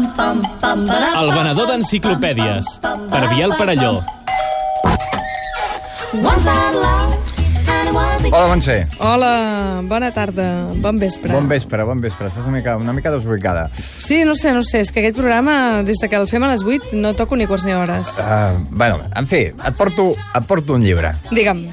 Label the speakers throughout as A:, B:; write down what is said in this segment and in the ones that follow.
A: El venedor d'enciclopèdies, per Biel Parelló.
B: Hola, Montse.
C: Hola, bona tarda, bon vespre.
B: Bon vespre, bon vespre. Estàs una mica, una mica desubicada.
C: Sí, no sé, no sé, és que aquest programa, des de que el fem a les 8, no toco ni quarts ni hores.
B: Uh, bueno, en fi, et porto, et porto un llibre.
C: Digue'm,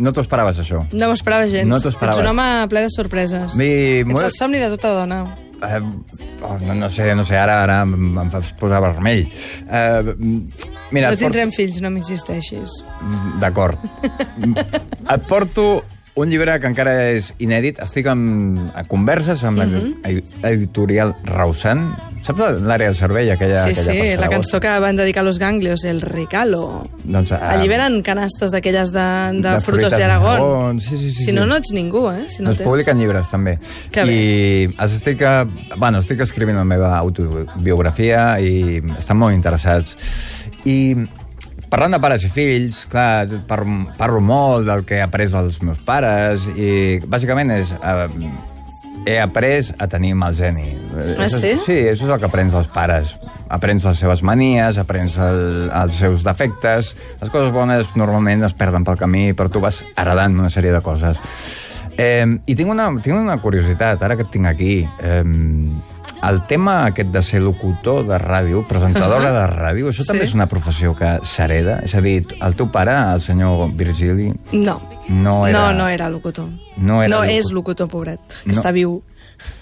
B: No t'ho esperaves, això.
C: no m'esperava gens.
B: No t'ho esperaves.
C: Ets un home ple de sorpreses.
B: Mi-
C: Ets el somni de tota dona.
B: Uh, no, no sé, no sé, ara, ara em, em fas posar vermell. Uh, mira,
C: no
B: et porto...
C: tindrem fills, no m'insisteixis.
B: D'acord. et porto un llibre que encara és inèdit. Estic en, a converses amb
C: Mhm.
B: l'editorial Rausan. Saps l'àrea del cervell, aquella...
C: sí,
B: aquella
C: sí, la
B: passarel·losa?
C: cançó que van dedicar a los ganglios, el recalo.
B: Doncs, ah,
C: Alliberen canastes d'aquelles de, de,
B: de
C: frutos
B: fruites
C: de Aragón.
B: d'Aragón, sí, sí, sí,
C: si no,
B: sí.
C: no ets ningú, eh? Si no
B: No es
C: tens.
B: publiquen Doncs llibres, també.
C: Que
B: I es estic, eh, bueno, estic escrivint la meva autobiografia i estan molt interessats. I parlant de pares i fills, clar, par parlo molt del que he après dels meus pares i bàsicament és... Eh, he après a tenir mal geni.
C: Ah,
B: Això és-
C: sí?
B: Sí, això és el que aprens dels pares. Aprens les seves manies, aprens el, els seus defectes. Les coses bones normalment es perden pel camí, però tu vas heredant una sèrie de coses. Eh, I tinc una, tinc una curiositat, ara que et tinc aquí. Eh, el tema aquest de ser locutor de ràdio, presentadora de ràdio, això també
C: Sí.
B: és una professió que s'hereda? És a dir, el teu pare, el senyor Virgili,
C: No.
B: No era-
C: no, no era locutor.
B: No era
C: no
B: locutor.
C: és locutor, pobret, que
B: No.
C: no. està viu.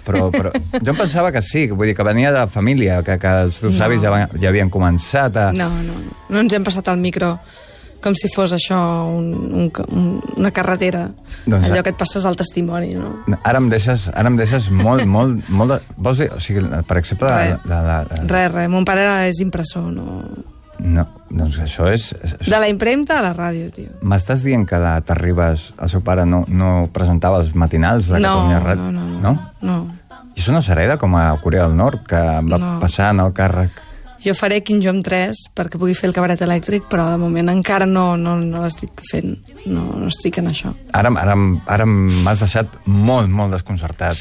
B: Però, però jo em pensava que sí, que vull dir que venia de família, que, que els teus no. avis ja, van, ja havien començat a...
C: No, no, no. No ens hem passat al micro com si fos això un, un, un, una carretera.
B: Doncs-
C: Allò que et passes al testimoni, no?
B: Ara em deixes, ara em deixes molt, molt, molt... De... Vols dir, o sigui, per exemple... La,
C: Res.
B: la, la, la...
C: Res, res. Mon pare era- és impressor, no?
B: No, doncs això és... és-
C: De la impremta a la ràdio, tio.
B: M'estàs dient que la t'arribes... El seu pare no, no presentava els matinals de
C: No,
B: Catalunya
C: no,
B: Ràdio?
C: no, no, no. no.
B: no? I això no s'hereda com a Corea del Nord, que va
C: No.
B: passar en el càrrec...
C: Jo faré Quinjom 3 perquè pugui fer el cabaret elèctric, però de moment encara no, no, no l'estic fent. No, no estic en això.
B: Ara, ara, ara m'has deixat molt, molt desconcertat.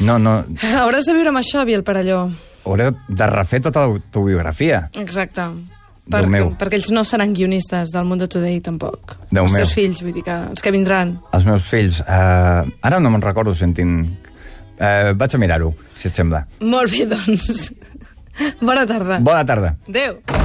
B: No, no...
C: Hauràs de viure amb això, Biel Parelló.
B: Hauré de refer tota la teva biografia.
C: Exacte.
B: Déu meu.
C: perquè ells no seran guionistes del Mundo Today, tampoc.
B: Déu
C: els
B: meu.
C: teus fills, vull dir que els que vindran.
B: els meus fills. Uh, ara no me'n recordo sentint... Uh, vaig a mirar-ho, si et sembla.
C: Molt bé, doncs. Bona tarda.
B: Bona tarda.
C: Adéu.